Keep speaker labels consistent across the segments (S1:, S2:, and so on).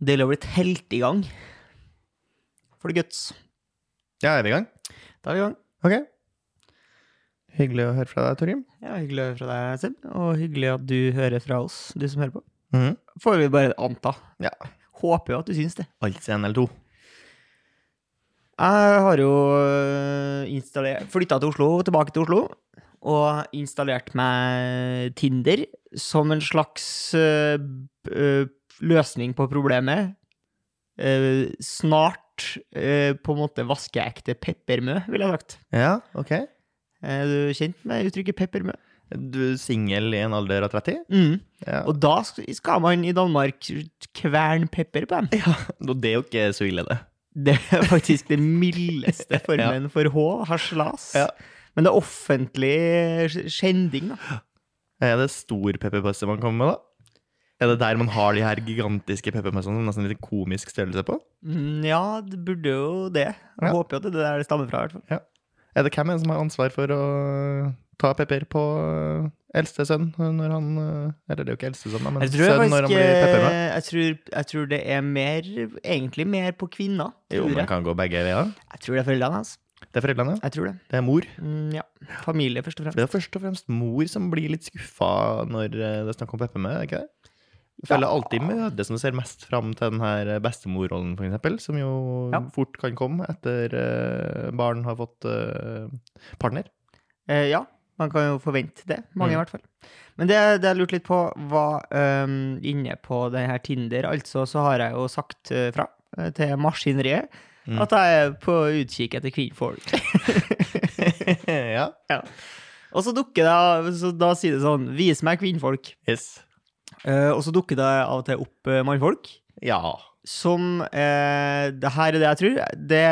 S1: Deilig å bli telt i gang. For the guts.
S2: Ja, er vi i gang?
S1: Da er vi i gang.
S2: Ok. Hyggelig å høre fra deg, Torgrim.
S1: Ja, Hyggelig å høre fra deg, Seb. Og hyggelig at du hører fra oss, du som hører på.
S2: Mhm.
S1: Får vi bare anta.
S2: Ja.
S1: Håper jo at du syns det.
S2: Altså en eller to.
S1: Jeg har jo øh, installert Flytta til Oslo, tilbake til Oslo. Og installert meg Tinder som en slags øh, b- øh, løsning på problemet. Eh, snart eh, på en måte vaskeekte peppermø, ville jeg sagt.
S2: Ja, ok.
S1: Er du kjent med uttrykket peppermø?
S2: Du singel i en alder av 30?
S1: Mm.
S2: Ja.
S1: Og da sk- skal man i Danmark kverne pepper på dem.
S2: det er jo ikke så ille, det.
S1: Det er faktisk den mildeste formen for H, haslas.
S2: Ja.
S1: Men det er offentlig sk- skjending, da.
S2: Er det stor pepperpølse man kommer med, da? Er det der man har de her gigantiske pepperpølsene som nesten litt komisk størrelse på?
S1: Mm, Ja, det burde jo det. Jeg
S2: Ja.
S1: Håper jo at det er der det stammer fra, i hvert fall.
S2: Er det hvem er det som har ansvar for å ta pepper på øh, eldste sønn når han øh, Eller det er jo ikke eldste sønn, da, men
S1: Jeg tror,
S2: sønn når han
S1: faktisk,
S2: blir peppermø.
S1: eh, jeg, tror, jeg tror det er mer, egentlig mer på kvinner.
S2: Jo,
S1: tror
S2: man
S1: jeg.
S2: kan gå begge veier.
S1: jeg tror det er foreldrene hans.
S2: Det er foreldrene, ja.
S1: Jeg tror det.
S2: Det er mor.
S1: Mm, ja. Familie, først og fremst.
S2: For det er først og fremst mor som blir litt skuffa når eh, det er snakk om peppermø, er det ikke det? Jeg føler
S1: Ja.
S2: alltid mødre som ser mest fram til den her bestemorrollen, for eksempel, som jo
S1: Ja.
S2: fort kan komme etter eh, barn har fått eh, partner.
S1: Eh, ja, man kan jo forvente det. Mange,
S2: Mm.
S1: i hvert fall. Men det, det jeg lurte litt på, var ehm, inne på denne Tinder. Altså så har jeg jo sagt eh, fra eh, til maskineriet
S2: Mm.
S1: at jeg er på utkikk etter kvinnfolk.
S2: ja.
S1: og så dukker det så Da sier det sånn Vis meg kvinnfolk.
S2: Yes.
S1: Eh, og så dukker det av og til opp eh, mannfolk.
S2: Ja.
S1: Som eh, Det her er det jeg tror. Det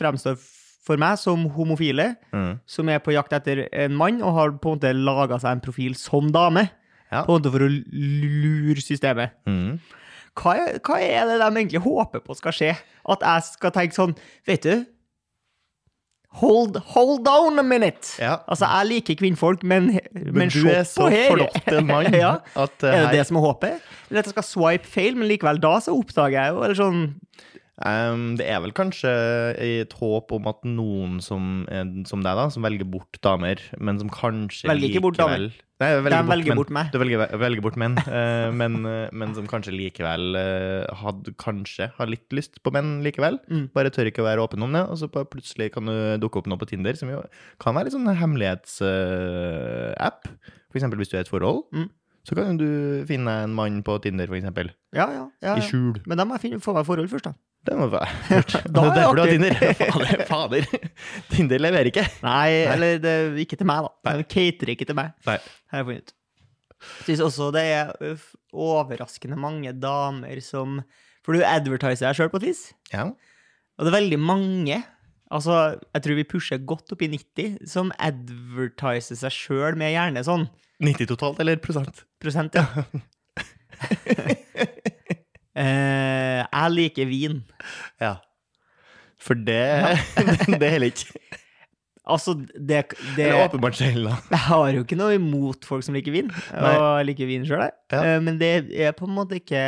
S1: fremstår f- for meg som homofile
S2: Mm.
S1: som er på jakt etter en mann, og har på en måte laga seg en profil som dame.
S2: Ja.
S1: På en måte for å lure systemet.
S2: Mm.
S1: Hva er, hva er det de egentlig håper på skal skje? At jeg skal tenke sånn Vet du Hold, hold down a minute!
S2: Ja.
S1: Altså, jeg liker kvinnfolk, men, men,
S2: Men du
S1: se
S2: er så
S1: på her.
S2: forlokt en mann
S1: ja.
S2: at eh,
S1: Er det
S2: her
S1: det som er håpet? Eller at jeg skal swipe feil, men likevel da så oppdager jeg jo Eller sånn
S2: Ehm, det er vel kanskje et håp om at noen som, eh, som deg, da, som velger bort damer, men som kanskje
S1: Velger ikke bort damer.
S2: likevel- Nei,
S1: De
S2: velger bort
S1: velger
S2: menn.
S1: bort meg.
S2: Du velger, velger bort menn, eh, men, eh, men som kanskje likevel eh, hadde, kanskje har litt lyst på menn likevel.
S1: Mm.
S2: Bare tør ikke å være åpen om det, og så bare plutselig kan du dukke opp noe på Tinder, som jo kan være litt sånn hemmelighetsapp. For eksempel hvis du er i et forhold,
S1: Mm.
S2: så kan jo du finne deg en mann på Tinder, for eksempel.
S1: Ja, ja. ja,
S2: I
S1: ja.
S2: skjul.
S1: Men da må jeg finne, få meg forhold først, da.
S2: Det må være lurt.
S1: Da
S2: det
S1: er
S2: er derfor du har
S1: det
S2: Tinder. Fader, fader. Tinder leverer ikke.
S1: Nei, eller det, ikke til meg, da.
S2: Nei.
S1: De caterer ikke til meg.
S2: Nei.
S1: Har jeg funnet ut. Syns også det er ø, f- overraskende mange damer som For du advertiser deg sjøl på et vis.
S2: Ja.
S1: Og det er veldig mange, altså jeg tror vi pusher godt opp i 90, som advertiser seg sjøl med gjerne sånn
S2: 90 totalt, eller prosent?
S1: prosent, ja. Eh, jeg liker vin.
S2: Ja. For det Det heller ikke.
S1: Altså, det,
S2: Det
S1: det
S2: er åpenbart skjell, da.
S1: Jeg har jo ikke noe imot folk som liker vin,
S2: Nei.
S1: og liker vin sjøl, jeg.
S2: Ja.
S1: Eh, Men det er på en måte ikke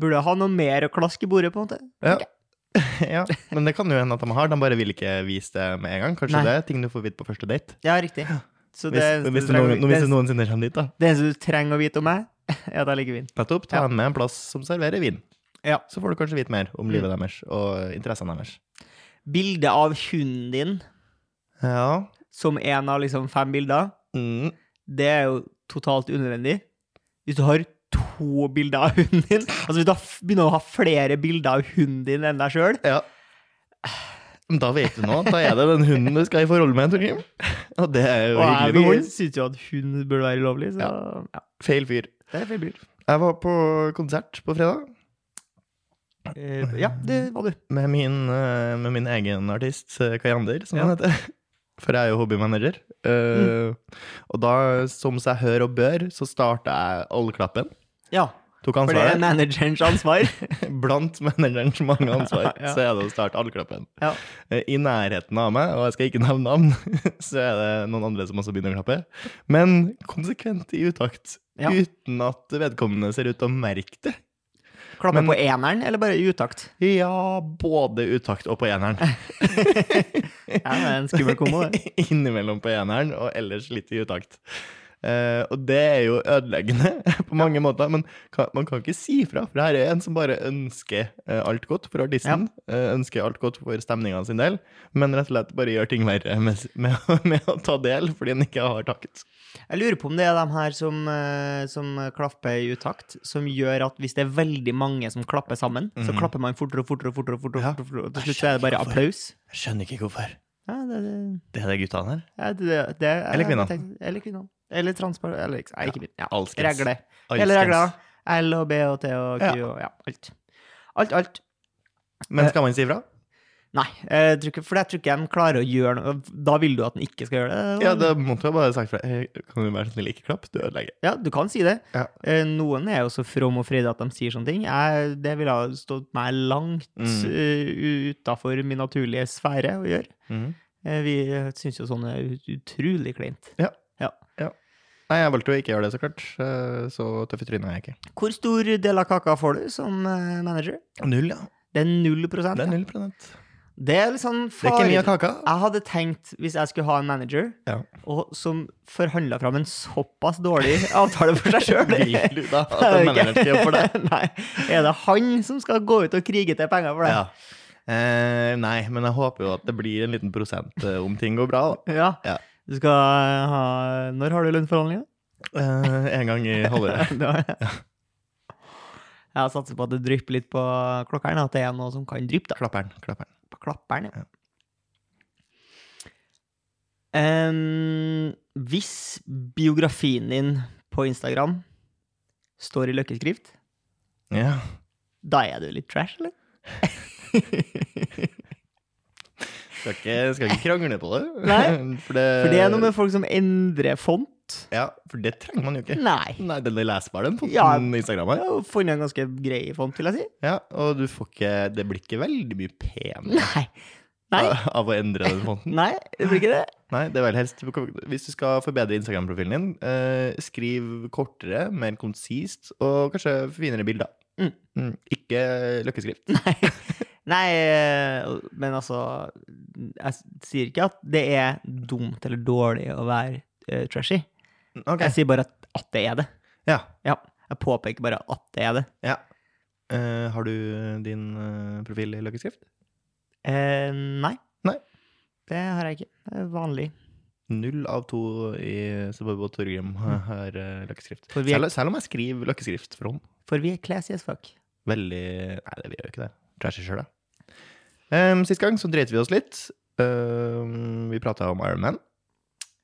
S1: Burde ha noe mer å klaske i bordet, på en måte.
S2: Ja. Ja. Men det kan jo hende at de har. De bare vil ikke vise det med en gang. Kanskje
S1: Nei.
S2: det er ting du får vite på første date.
S1: Ja, riktig. Så
S2: Hvis,
S1: det, eneste
S2: hvis,
S1: du
S2: det,
S1: trenger å
S2: noen,
S1: vite-
S2: hvis
S1: det,
S2: det noensinne kommer dit, da.
S1: eneste- det eneste du trenger å vite om meg, er at jeg liker vin.
S2: Nettopp. Ta dem med en plass som serverer vin.
S1: Ja.
S2: Så får du kanskje vite mer om livet deres og interessene deres.
S1: Bilde av hunden din
S2: Ja.
S1: som én av liksom fem bilder,
S2: Mm.
S1: det er jo totalt unødvendig. Hvis du har to bilder av hunden din Altså hvis du har f- begynner å ha flere bilder av hunden din enn deg sjøl,
S2: Ja. Men da vet du nå. Da er det den hunden du skal i forhold med, Torgrim. Og det er jo
S1: og jeg
S2: hyggelig med
S1: vil-
S2: hund.
S1: synes jo at hund burde være ulovlig, så ja.
S2: Feil fyr.
S1: Det er feil bil.
S2: Jeg var på konsert på fredag
S1: Eh, ja, det var du.
S2: med min, eh, med min egen artist, eh, Kayander, som
S1: Ja.
S2: han heter. For jeg er jo hobbymanager. Eh, Og da, som seg hør og bør, så starta jeg allklappen.
S1: Ja,
S2: Tok
S1: for det er
S2: ansvaret.
S1: managerens ansvar.
S2: Blant managerens mange ansvar,
S1: Ja.
S2: så er det å starte allklappen.
S1: Ja.
S2: Eh, I nærheten av meg, og jeg skal ikke nevne navn, så er det noen andre som også begynner å klappe. Men konsekvent i utakt,
S1: Ja.
S2: uten at vedkommende ser ut til å merke det.
S1: Klappe
S2: Men-
S1: på eneren, eller bare i utakt?
S2: Ja, både utakt og på eneren.
S1: Ja, det er en skummel kombo, det.
S2: Innimellom på eneren, og ellers litt i utakt. Eh, og det er jo ødeleggende på mange måter, men kan, man kan ikke si fra. For det her er en som bare ønsker eh, alt godt for artisten. eh, ønsker alt godt for stemninga sin del, men rett og slett bare gjør ting verre med, med, med å ta del fordi en ikke har takket.
S1: Jeg lurer på om det er de her som, eh, som klapper i utakt, som gjør at hvis det er veldig mange som klapper sammen, så
S2: Mhm.
S1: klapper man fortere og fortere, og fortere, og fortere,
S2: Ja.
S1: og fortere, fortere, og til
S2: Jeg
S1: slutt så er det
S2: skjønner
S1: bare
S2: ikke hvorfor.
S1: applaus.
S2: Jeg skjønner ikke hvorfor.
S1: Ja, det, det,
S2: Det er de guttene her.
S1: ja, det, det, det
S2: Eller
S1: jeg
S2: kvinnene.
S1: tenkte- Eller kvinnene. Eller transport... Eller ikke, nei, ikke min. Ja.
S2: Alskens.
S1: Regler.
S2: Alskens.
S1: Hele regler. L og B og T og Q
S2: Ja.
S1: og ja, alt. Alt, alt.
S2: Men skal man si fra?
S1: Nei, jeg tror ikke, for jeg tror ikke de klarer å gjøre noe. Da vil du at den ikke skal gjøre det.
S2: Ja, da måtte jeg bare sagt fra. Eh, Kan du være så snill, ikke klapp, du ødelegger.
S1: Ja, du kan si det.
S2: Ja.
S1: Eh, Noen er jo så from og fredde at de sier sånne ting. Jeg, det ville ha stått meg langt
S2: Mm.
S1: eh, utafor min naturlige sfære å gjøre.
S2: Mhm.
S1: Eh, Vi syns jo sånn er ut- utrolig kleint.
S2: Nei, jeg valgte jo ikke å gjøre det, så klart. Eh, Så tøff i trynet er jeg ikke.
S1: Hvor stor del av kaka får du som eh, manager?
S2: Null, ja.
S1: Det er null prosent.
S2: Det er
S1: ja.
S2: null prosent.
S1: Det er litt sånn
S2: Det er ikke mye
S1: farlig.
S2: av kaka.
S1: Jeg hadde tenkt, hvis jeg skulle ha en manager
S2: Ja.
S1: og som forhandla fram en såpass dårlig avtale for seg sjøl
S2: Vil du da at en manager skal jobbe for deg?
S1: Nei. Er det han som skal gå ut og krige til penger for det?
S2: Ja. Eh, nei, men jeg håper jo at det blir en liten prosent eh, om ting går bra, da.
S1: Ja.
S2: Ja.
S1: Du skal ha Når har du lønnsforhandlinger?
S2: Eh, en gang i halvåret.
S1: Det har jeg. Jeg satser på at det drypper litt på klokkeren, at det er noe som kan dryppe. da.
S2: Klapperen. klapperen.
S1: På klapperen, ja.
S2: Ja.
S1: Em, hvis biografien din på Instagram står i løkkeskrift,
S2: Ja.
S1: da er du litt trash, eller?
S2: Skal ikke, skal ikke krangle på det.
S1: Nei,
S2: for det,
S1: For det er noe med folk som endrer font.
S2: Ja, for det trenger man jo ikke.
S1: Nei.
S2: Nei, den er lesbar, den foten
S1: Ja.
S2: Instagram
S1: Jeg
S2: har.
S1: har jo funnet en ganske grei font, vil jeg si.
S2: Ja, og du får ikke Det blir ikke veldig mye pen
S1: Nei. Nei.
S2: av, av å endre den fonten.
S1: Nei, det blir ikke det.
S2: Nei, det er vel helst Hvis du skal forbedre Instagram-profilen din, eh, skriv kortere, mer konsist, og kanskje finere bilder.
S1: Mm.
S2: Ikke løkkeskrift.
S1: Nei, eh, men altså Jeg s- sier ikke at det er dumt eller dårlig å være eh, trashy.
S2: Ok.
S1: Jeg sier bare at, at det er det.
S2: Ja.
S1: Ja, jeg påpeker bare at det er det.
S2: ja. Eh, har du din eh, profil i løkkeskrift?
S1: Eh, nei.
S2: Nei.
S1: Det har jeg ikke. Det er vanlig.
S2: Null av to i Sebabo Torgrim har eh, løkkeskrift.
S1: For vi er-
S2: Selv, selv om jeg skriver løkkeskrift for hånd.
S1: For vi er classy as fuck.
S2: Veldig Nei, det vi gjør jo ikke det. Trashy sjøl, da. Um, Sist gang så dreit vi oss litt. Ehm, vi prata om Ironman.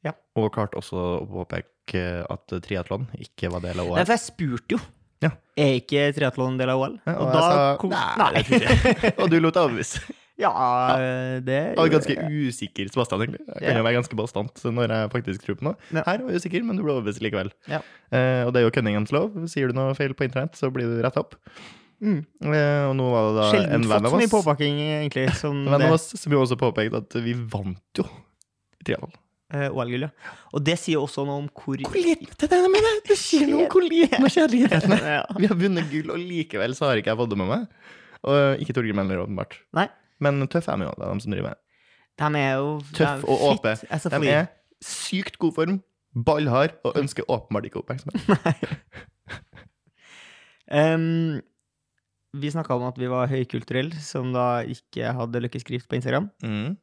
S1: Ja.
S2: Og klarte også å påpeke at triatlon ikke var del av
S1: Nei,
S2: OL.
S1: for jeg spurte jo.
S2: Ja.
S1: Er ikke triatlon en del av OL?
S2: Ja, og
S1: og
S2: jeg
S1: da
S2: sa,
S1: kom
S2: «Nei, det tror Og du lot deg overbevise.
S1: ja, eh, det
S2: Jeg var
S1: gjorde
S2: ganske
S1: jeg.
S2: usikker som bestand, egentlig. Jeg kan
S1: Ja.
S2: jo være ganske bastant når jeg faktisk tror på noe.
S1: Ja.
S2: Her var jeg usikker, men du ble overbevist likevel.
S1: Ja.
S2: Eh, og det er jo cunninghams lov. Sier du noe feil på internett, så blir du retta opp.
S1: Mm.
S2: Eh, og nå var det da
S1: Sjelden
S2: en
S1: fått
S2: venn
S1: så
S2: av
S1: mye
S2: oss
S1: påpakking, egentlig, som
S2: En venn
S1: det
S2: av oss som jo også påpekte at vi vant jo triatlon.
S1: eh, OL-gullet. Og det sier også noe om hvor
S2: Hvor liten det er, mener jeg! Det sier noe om hvor liten og kjedelig idretten er.
S1: Ja.
S2: Vi har vunnet gull, og likevel så har ikke jeg fått det med meg. Og ikke Torgrim heller, åpenbart.
S1: Nei.
S2: Men tøff er vi jo, det er de som driver med.
S1: De er jo de er
S2: Tøff og
S1: fit
S2: åpe.
S1: as a
S2: De
S1: flea.
S2: er sykt god form, ballhard, og ønsker åpenbart ikke oppmerksomhet.
S1: Ehm, vi snakka om at vi var høykulturelle, som da ikke hadde løkkeskrift på Instagram.
S2: Mm.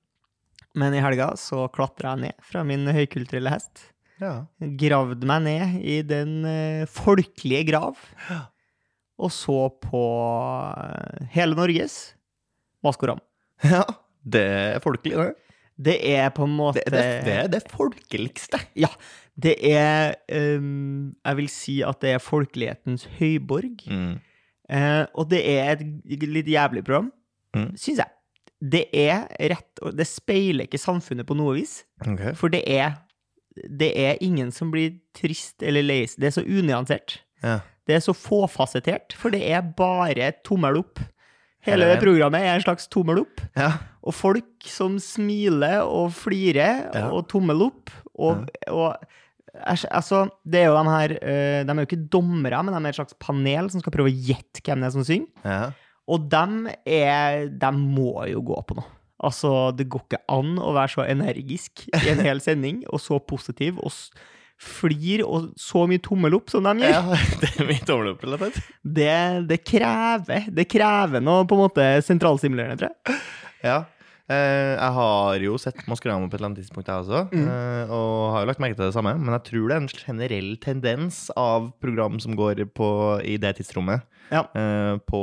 S1: Men i helga så klatra jeg ned fra min høykulturelle hest.
S2: Ja.
S1: Gravde meg ned i den eh, folkelige grav. Og så på eh, hele Norges Maskorama.
S2: ja. Det er folkelig, det.
S1: Det er på en måte
S2: Det, det, det er det folkeligste.
S1: Ja. Det er ehm, Jeg vil si at det er folkelighetens høyborg. Eh, og det er et g- litt jævlig program,
S2: Mm.
S1: syns jeg. Det er rett og Det speiler ikke samfunnet på noe vis.
S2: Ok.
S1: For det er, det er ingen som blir trist eller lei seg. Det er så unyansert.
S2: Ja.
S1: Det er så fåfasettert, for det er bare tommel opp.
S2: Hele
S1: Hele det
S2: veien.
S1: programmet er en slags tommel opp.
S2: Ja.
S1: Og folk som smiler og flirer
S2: Ja.
S1: og tommel opp. Og, og Æsj, Altså, det er jo de her eh, De er jo ikke dommere, men de er et slags panel som skal prøve å gjette hvem det er som synger.
S2: Ja.
S1: Og dem er De må jo gå på noe. Altså, det går ikke an å være så energisk i en hel sending, og så positiv, og s- flir, og så mye tommel opp som de gjør.
S2: ja, det er mitt overlopp, rett og slett.
S1: Det, det krever Det krever noe på en måte sentralstimulerende, tror jeg.
S2: Ja. Eh, jeg har jo sett Maskorama på et eller annet tidspunkt, jeg også.
S1: Mm.
S2: eh, og har jo lagt merke til det samme. Men jeg tror det er en generell tendens av program som går på, i det tidsrommet.
S1: Ja.
S2: Eh, på,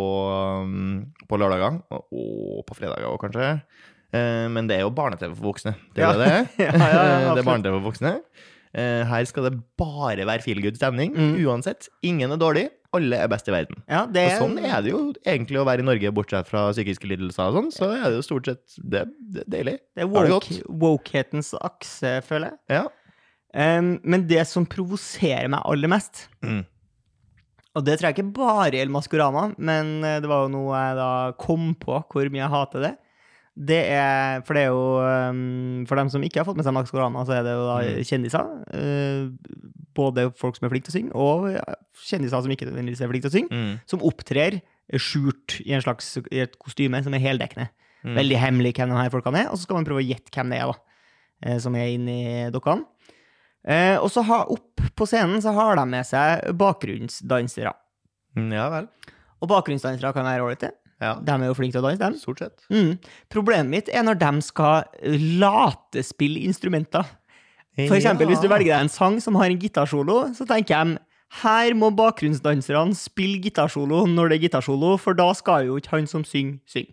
S2: um, på lørdager, og, og på fredager òg, kanskje. Eh, men det er jo barne-TV for voksne. Det er
S1: Ja.
S2: jo det det
S1: Ja,
S2: er.
S1: ja, ja,
S2: det er
S1: absolutt.
S2: barne-TV for voksne. Eh, her skal det bare være feel good stemning.
S1: Mm.
S2: Uansett. Ingen er dårlig. Alle er best i verden.
S1: Ja, det
S2: Og sånn er det jo egentlig å være i Norge, bortsett fra psykiske lidelser og sånn. Så er det jo stort sett det, det er deilig.
S1: Det er
S2: Har det
S1: woke, wokehetens akse, føler jeg.
S2: Ja.
S1: Em, men det som provoserer meg aller mest,
S2: Mm.
S1: og det tror jeg ikke bare gjelder Maskorama, men eh, det var jo noe jeg da kom på hvor mye jeg hater det. Det er, For det er jo em, For dem som ikke har fått med seg Maskorama, så er det jo da
S2: Mm.
S1: kjendiser. eh, både folk som er flinke til å synge, og ja, kjendiser som ikke nødvendigvis er flinke til å synge,
S2: Mm.
S1: som opptrer skjult i, en slags, i et kostyme som er heldekkende.
S2: Mm.
S1: Veldig hemmelig hvem de her folkene er, og så skal man prøve å gjette hvem det er, da. eh, Som er inni dokkene. Eh, og så har, opp på scenen så har de med seg bakgrunnsdansere.
S2: Mm, Ja vel.
S1: Og bakgrunnsdansere kan være ålreite.
S2: Ja.
S1: De er jo flinke til å danse, dem.
S2: Stort sett.
S1: Mm. Problemet mitt er når de skal latespille instrumenter. For eksempel, hvis du velger deg en sang som har en gitarsolo, så tenker jeg her må bakgrunnsdanserne spille gitarsolo når det er gitarsolo, for da skal jo ikke han som synger, synge.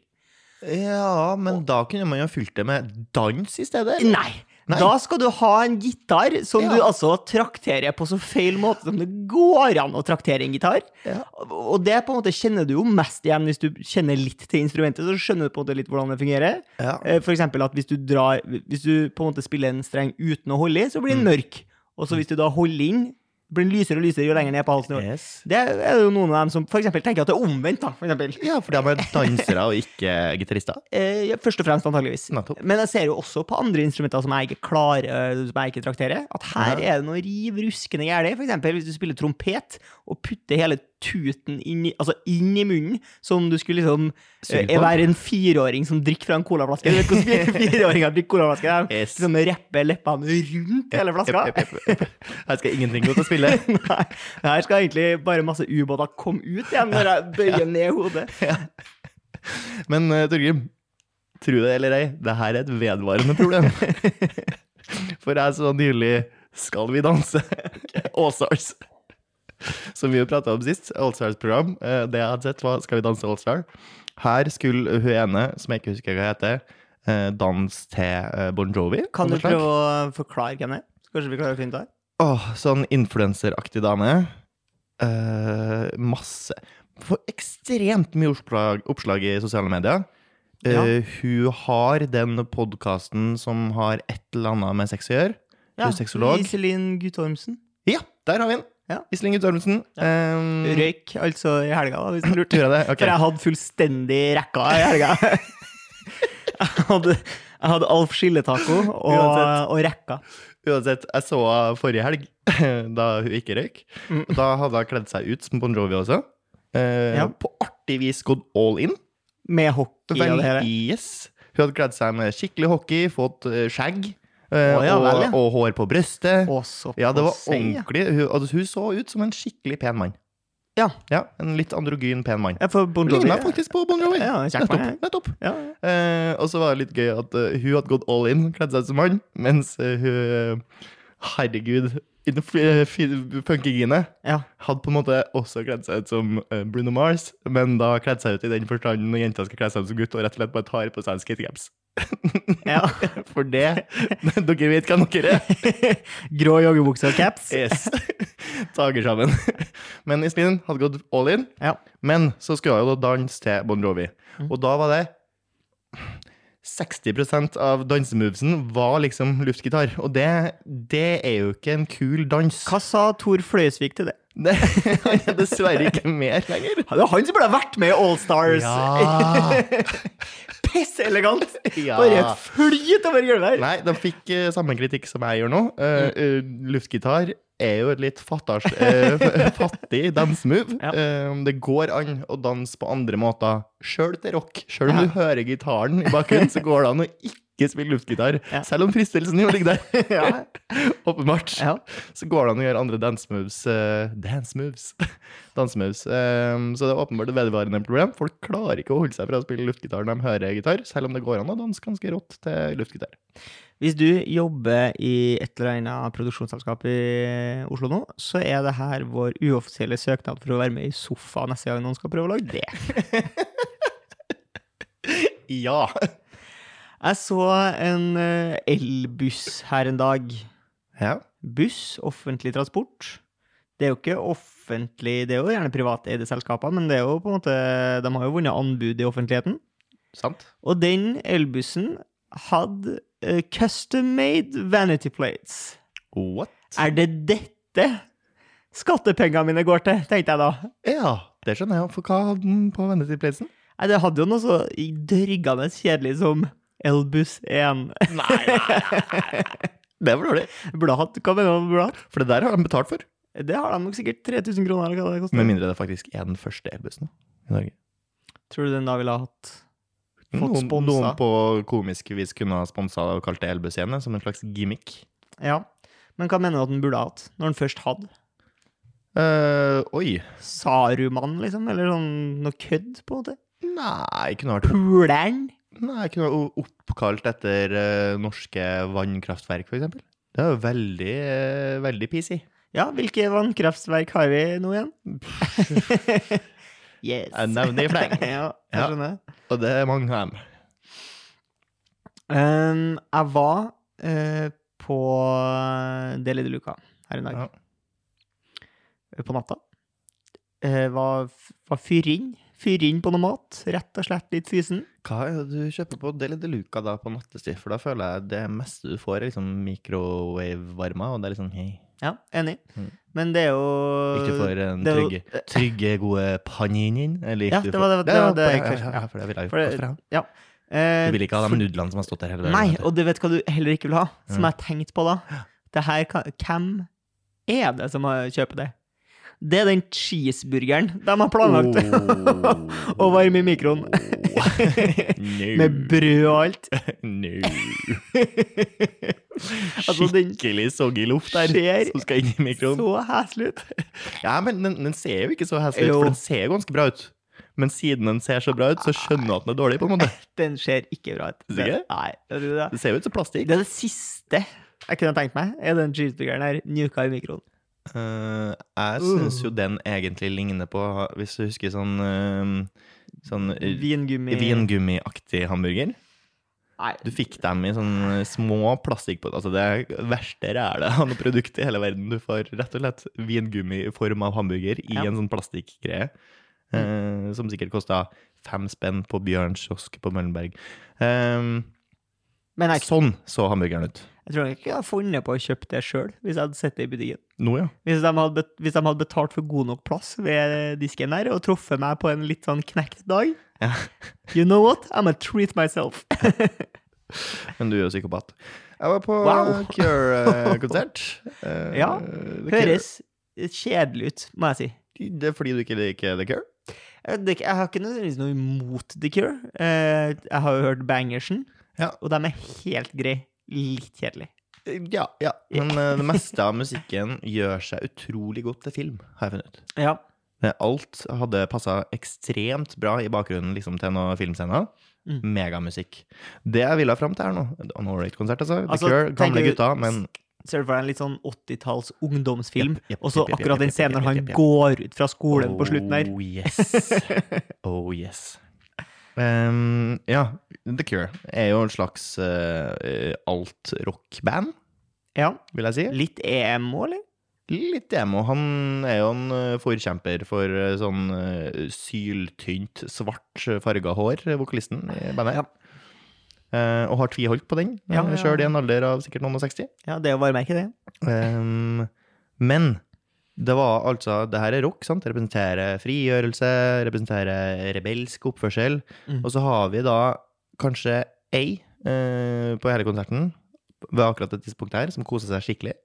S2: Ja, men da kunne man jo fylt det med dans i stedet. eller?
S1: Nei.
S2: Nei.
S1: Da skal du ha en gitar som
S2: Ja.
S1: du altså trakterer på så feil måte som det går an å traktere en gitar.
S2: Ja.
S1: Og det på en måte kjenner du jo mest igjen hvis du kjenner litt til instrumentet, så skjønner du på en måte litt hvordan det fungerer.
S2: Ja.
S1: Eh, For eksempel at hvis du, drar, hvis du på en måte spiller en streng uten å holde i, så blir den
S2: Mm.
S1: mørk. Og så hvis du da holder inn, blir den lysere og lysere jo lenger ned på halsen du holder.
S2: Yes.
S1: Det er jo noen av dem som for eksempel tenker at det er omvendt, da. For eksempel.
S2: Ja, for de er dansere og ikke gitarister.
S1: Eh, ja, først og fremst, antageligvis.
S2: Nettopp.
S1: Men jeg ser jo også på andre instrumenter som jeg ikke klarer, eh, som jeg ikke trakterer, at her er det noe riv ruskende gærent. For eksempel hvis du spiller trompet og putter hele tuten inn i, altså inn i munnen, som du skulle liksom eh,
S2: Suge på.
S1: være en fireåring som drikker fra en colaflaske. Du vet hvordan fire- fireåringer drikker colaflaske? De
S2: Yes.
S1: liksom repper leppene rundt hele flaska.
S2: Epp, epp, epp, epp. Her skal ingenting gå til å spille.
S1: Nei, det her skal egentlig bare masse ubåter komme ut igjen når jeg bøyer ned hodet.
S2: Men uh, Torgrim, tro det eller ei, det her er et vedvarende problem. For jeg så nylig Skal vi danse? Allstars. Som vi jo prata om sist, Allstars-program. Eh, det jeg hadde sett, var Skal vi danse Allstar. Her skulle hun ene, som jeg ikke husker hva heter, eh, danse til eh, Bon Jovi.
S1: Kan du
S2: av noe slag.
S1: prøve å forklare hvem det er? Kanskje vi klarer å finne ut av det?
S2: Åh, sånn influenseraktig dame. Eh, masse. Får ekstremt mye oppslag, oppslag i sosiale medier. Eh,
S1: Ja.
S2: Hun har den podkasten som har et eller annet med sex å gjøre. Hun er sexolog.
S1: Iselin Guttormsen.
S2: Ja, der har vi den!
S1: Ja.
S2: Iselin Guttormsen. Eh,
S1: Røyk altså i helga, da, hvis du lurte.
S2: Gjorde jeg det? Ok.
S1: For jeg hadde fullstendig rekka i helga. jeg, hadde, jeg hadde Alf Skilletaco og,
S2: Uansett.
S1: og rekka.
S2: Uansett, jeg så henne forrige helg, da hun ikke røyk.
S1: Mm.
S2: Da hadde hun kledd seg ut som Bon Jovi også. Eh,
S1: Ja.
S2: På artig vis gått all in.
S1: Med hockey og
S2: Vel,
S1: det hele.
S2: yes. Hun hadde kledd seg med skikkelig hockey, fått eh, skjegg eh,
S1: Å, ja,
S2: og,
S1: vel, ja.
S2: og hår på brystet.
S1: Og så
S2: ja, det
S1: på
S2: var
S1: seg, ja.
S2: ordentlig. Hun, altså, hun så ut som en skikkelig pen mann.
S1: Ja.
S2: En litt androgyn pen mann.
S1: Jeg får Bon Jovi.
S2: Ligna faktisk på Bon Jovi.
S1: Ja, kjekk
S2: nettopp.
S1: mann,
S2: nettopp.
S1: Ja.
S2: Eh, og så var det litt gøy at eh, hun hadde gått all in, kledd seg som mann, mens eh, hun Herregud, influ- eh, fi- funkygine
S1: Ja.
S2: hadde på en måte også kledd seg ut som eh, Bruno Mars, men da kledd seg ut i den forstanden når jenta skal kle seg ut som gutt og rett og slett bare tar på seg en skatecaps.
S1: Ja.
S2: For det Dere vet hva dere er.
S1: Grå joggebukse og caps.
S2: Yes. Tager sammen. Men Iselin hadde gått all in,
S1: Ja. Mm.
S2: men så skulle hun jo da danse til Bon Jovi. Og da var det 60 av dansemovesen var liksom luftgitar, og det, det er jo ikke en kul dans.
S1: Hva sa Tor Fløysvik til det?
S2: Det han er dessverre ikke mer lenger.
S1: Det er han som burde ha vært med i All Stars.
S2: Ja.
S1: pisseelegant! Bare flyt over gulvet her!
S2: Nei, de fikk eh, samme kritikk som jeg gjør nå.
S1: Mm.
S2: Eh, eh, luftgitar er jo et litt fattars, eh, f- fattig dansemove.
S1: Ja.
S2: Eh, det går an å danse på andre måter sjøl til rock. Sjøl om
S1: Ja.
S2: du hører gitaren i bakgrunnen, så går det an å ikke spille luftgitar.
S1: Ja.
S2: Selv om fristelsen jo ligger der.
S1: Ja.
S2: Åpenbart.
S1: Ja.
S2: Så går det an å gjøre andre dance moves. eh, dance moves. dance moves. Eh, så det er åpenbart et vedvarende problem. Folk klarer ikke å holde seg fra å spille luftgitar når de hører gitar, selv om det går an å danse ganske rått til luftgitar.
S1: Hvis du jobber i et eller annet produksjonsselskap i Oslo nå, så er det her vår uoffisielle søknad for å være med i sofa neste gang noen skal prøve å lage det.
S2: Ja.
S1: Jeg så en eh, elbuss her en dag.
S2: Ja.
S1: Buss, offentlig transport. Det er jo ikke offentlig, det er jo gjerne privateide selskaper, men det er jo på en måte, de har jo vunnet anbud i offentligheten.
S2: Sant.
S1: Og den elbussen hadde eh, custom-made vanity plates.
S2: What?
S1: Er det dette skattepengene mine går til, tenkte jeg da.
S2: Ja, det skjønner jeg. For hva hadde den på Vanity Placen?
S1: Nei, det hadde jo noe så dryggende kjedelig som Elbus 1.
S2: Nei, Det var dårlig.
S1: Burde hatt, hva mener du, burde hatt?
S2: For det der har de betalt for.
S1: Det har de nok sikkert 3000 kroner, eller hva det koster.
S2: Med mindre det faktisk er den første elbussen i Norge.
S1: Tror du den da ville ha hatt Fått
S2: Noen,
S1: sponsa.
S2: noen på komisk vis kunne ha sponsa og kalt det elbuss igjen, som en slags gimmick.
S1: Ja. Men hva mener du at den burde ha hatt, når den først hadde?
S2: eh oi.
S1: Saruman, liksom? Eller sånn noe kødd, på en måte?
S2: Nei, kunne vært
S1: Puleren?
S2: Nei, kunne vært oppkalt etter eh, norske vannkraftverk, for eksempel. Det er jo veldig, eh, veldig PC.
S1: Ja, hvilke vannkraftverk har vi nå igjen? yes.
S2: Jeg nevner i fleng.
S1: ja,
S2: Ja.
S1: jeg skjønner.
S2: Og det er mange av dem.
S1: Ehm, jeg var eh, på eh, det lille luka her en dag.
S2: Ja.
S1: På natta. Eh, var var fyrin. Fyrin på noe mat. Rett og slett litt fysen.
S2: Hva er det du kjøper på Deli de Luca da på nattestid? For da føler jeg det meste du får, er liksom microwave-varma, og det er liksom hei.
S1: Ja, enig.
S2: Mm.
S1: Men det er jo
S2: Ikke for en
S1: det er jo-
S2: trygge, trygge gode paninin, eller
S1: Ja,
S2: ikke du
S1: det
S2: for-
S1: var det- det
S2: Ja,
S1: var det jeg
S2: ja,
S1: kanskje-
S2: ja, ja, for det ville jeg jo
S1: For det-
S2: gått fra.
S1: ja. Eh,
S2: Du vil ikke ha de nudlene som har stått der hele
S1: Nei,
S2: vet du.
S1: og du vet hva du heller ikke vil ha, som
S2: Ja.
S1: jeg tenkte på da. Det her, kan- hvem er det som har- kjøper det? Det er den cheeseburgeren de har planlagt
S2: Åh.
S1: å varme i mikroen.
S2: Oh. No.
S1: Med brød og alt.
S2: no.
S1: Altså, den
S2: Skikkelig soggy luft der,
S1: skjer
S2: som skal inn i mikroen.
S1: så heslig ut.
S2: Ja, men den, den ser jo ikke så heslig ut,
S1: Jo.
S2: for den ser jo ganske bra ut. Men siden den ser så bra ut, så skjønner du at den er dårlig, på en måte.
S1: Den ser ikke bra ut.
S2: Synes ikke?
S1: Nei, jeg tror det.
S2: Det ser jo ut som
S1: det
S2: plastikk.
S1: er det siste jeg kunne tenkt meg, er den cheeseburgeren her nuka i mikroen.
S2: Eh, jeg syns jo den egentlig ligner på, hvis du husker sånn eh, Sånn eh,
S1: Vingummi
S2: vingummiaktig hamburger.
S1: Nei.
S2: Du fikk dem i sånne små plastikkpotter. Altså det verste rælet av noe produkt i hele verden. Du får rett og slett vingummi i form av hamburger i
S1: Ja.
S2: en sånn plastikkgreie. eh, som sikkert kosta fem spenn på Bjørns kiosk på Møllenberg. Eh,
S1: Men jeg,
S2: sånn så hamburgeren ut.
S1: jeg tror ikke jeg hadde funnet på å kjøpe det sjøl, hvis jeg hadde sett det i butikken.
S2: Nå, ja.
S1: Hvis de, hadde, bet- hvis de hadde betalt for god nok plass ved disken der, og truffet meg på en litt sånn knekt dag
S2: Ja.
S1: You know what? I'm a treat myself.
S2: Men du er jo psykopat. Jeg var på
S1: Wow.
S2: Cure-konsert. Eh,
S1: Ja,
S2: The
S1: Høres kjedelig ut, må jeg si.
S2: Cure. Det er fordi du ikke liker The Cure?
S1: Jeg, Eh, det, jeg har ikke nødvendigvis noe imot The Cure. Eh, jeg har jo hørt Bangersen,
S2: Ja.
S1: og de er helt greie. Litt kjedelig.
S2: Ja. ja. Men eh, det meste av musikken gjør seg utrolig godt til film, har jeg funnet ut.
S1: Ja.
S2: Eh, Alt hadde passa ekstremt bra i bakgrunnen liksom, til noen filmscener.
S1: Mm.
S2: Megamusikk. Det jeg ville fram til her nå On Orate-konsert, altså. The
S1: Altså,
S2: Cure, gamle
S1: tenker du-
S2: gutta, men
S1: Ser du for deg en litt sånn 80-talls ungdomsfilm,
S2: Jepp, jepp,
S1: og så
S2: jepp, jepp,
S1: akkurat den
S2: jepp, jepp,
S1: scenen når
S2: jepp,
S1: han
S2: jepp, jepp.
S1: går ut fra skolen på slutten der.
S2: Oh yes. Oh yes. Em, Um, ja, The Cure er jo en slags eh, alt-rock-band,
S1: Ja.
S2: vil jeg si.
S1: Litt emo, eller?
S2: Litt emo. Han er jo en eh, forkjemper for eh, sånn eh, syltynt, svart eh, farga hår, eh, vokalisten i bandet.
S1: Ja.
S2: Eh, og har tviholdt på den,
S1: Ja,
S2: eh,
S1: ja,
S2: sjøl i
S1: ja.
S2: en alder av sikkert noen og seksti.
S1: Ja, det er å bare merke det.
S2: Ehm, men det var altså Det her er rock, sant? Det representerer frigjørelse, representerer rebelsk oppførsel.
S1: Mm.
S2: Og så har vi da kanskje ei eh, på hele konserten ved akkurat det tidspunktet her, som koser seg skikkelig.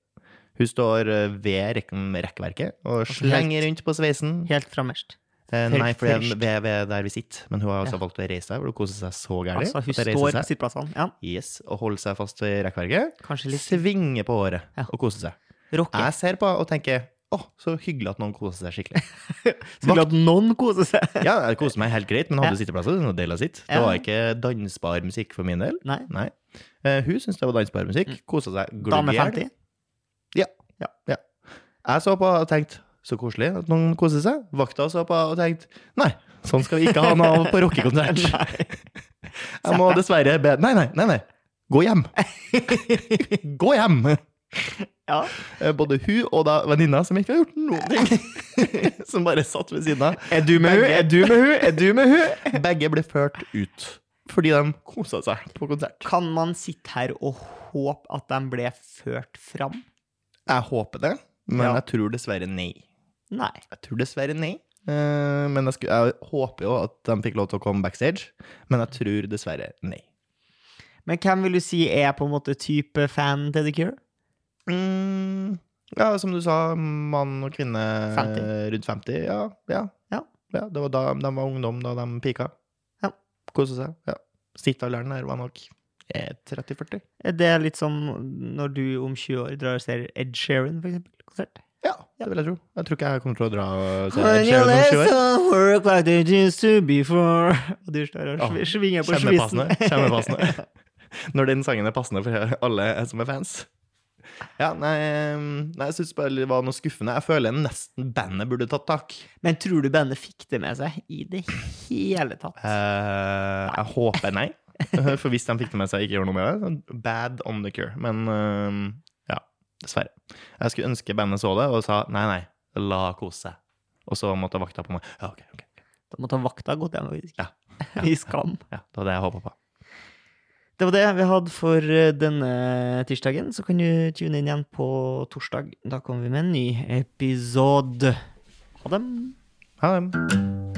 S2: Hun står eh, ved rekken- rekkverket og
S1: Altså, helt-
S2: slenger rundt på sveisen.
S1: Helt framerst.
S2: Eh,
S1: Helt
S2: nei, for det er
S1: først.
S2: ved, ved der vi sitter. Men hun har altså
S1: Ja.
S2: valgt å reise seg, for hun koser seg så gærent.
S1: Altså, hun
S2: at hun
S1: står
S2: reiser
S1: på
S2: seg
S1: sittplassene. Ja,
S2: yes, og holder seg fast i rekkverket.
S1: kanskje litt
S2: Svinger på håret
S1: Ja.
S2: og koser seg.
S1: rocker.
S2: Jeg ser på og tenker å, så hyggelig at noen koser seg skikkelig.
S1: Skulle hatt noen kose seg.
S2: Ja, jeg koser meg helt greit, men hadde
S1: Ja.
S2: sitteplasser. Det var del av sitt. Det
S1: Ja.
S2: var ikke dansbar musikk for min del.
S1: Nei.
S2: Nei. Eh, hun syntes det var dansbar musikk. Kosa seg glugg
S1: Dame
S2: i hjel.
S1: 50.
S2: Jeg så på og tenkte så koselig at noen koser seg. Vakta så på og tenkte nei, sånn skal vi ikke ha noe på rockekonsert. Jeg må dessverre be Nei, nei, nei. nei. Gå hjem. Gå hjem!
S1: Ja.
S2: Eh, Både hun og da venninna, som ikke har gjort noen ting, som bare satt ved siden av.
S1: Er du med hun? Er du med hun? Er du med hun?
S2: Begge ble ført ut fordi de kosa seg på konsert.
S1: Kan man sitte her og håpe at de ble ført fram?
S2: Jeg håper det, men
S1: Ja.
S2: jeg tror dessverre nei.
S1: Nei.
S2: Jeg tror dessverre nei. Eh, Men jeg, skulle, jeg håper jo at de fikk lov til å komme backstage, men jeg tror dessverre nei.
S1: Men hvem vil du si er på en måte type fan til The Cure?
S2: Mm, ja, som du sa, mann og kvinne
S1: 50.
S2: rundt 50. Ja, ja.
S1: Ja.
S2: det var da de var ungdom, da de pika.
S1: Ja.
S2: Kosa seg. Ja. Snittalderen her var nok eh, 30-40.
S1: Er det litt som når du om 20 år drar og ser Ed Sheeran, for eksempel? Konsert?
S2: Ja, det vil jeg tro. Jeg tror ikke jeg kommer til å dra og se
S1: When you
S2: Ed Sheeran om 20 år.
S1: listen, work like they used to before Og du står og
S2: Ja,
S1: svi- svinger på
S2: Kjempepassende.
S1: svisen.
S2: kjempepassende. Når den sangen er passende for alle som er fans. Ja, nei, eh, nei jeg syns bare det var noe skuffende. Jeg føler nesten bandet burde tatt tak.
S1: Men tror du bandet fikk det med seg i det hele tatt?
S2: Eh, jeg håper nei. For hvis de fikk det med seg, ikke gjør noe med det. så Bad on the cure. Men eh, ja, dessverre. Jeg skulle ønske bandet så det og sa nei, nei, la kose seg. Og så måtte vakta på meg. Ja, ok, ok.
S1: Da måtte han vakta gått hjem faktisk.
S2: Ja.
S1: i skam.
S2: Ja, det var det jeg håpa på.
S1: Det var det vi hadde for eh, denne tirsdagen. Så kan du tune inn igjen på torsdag. Da kommer vi med en ny episode. Ha det.
S2: Ha det.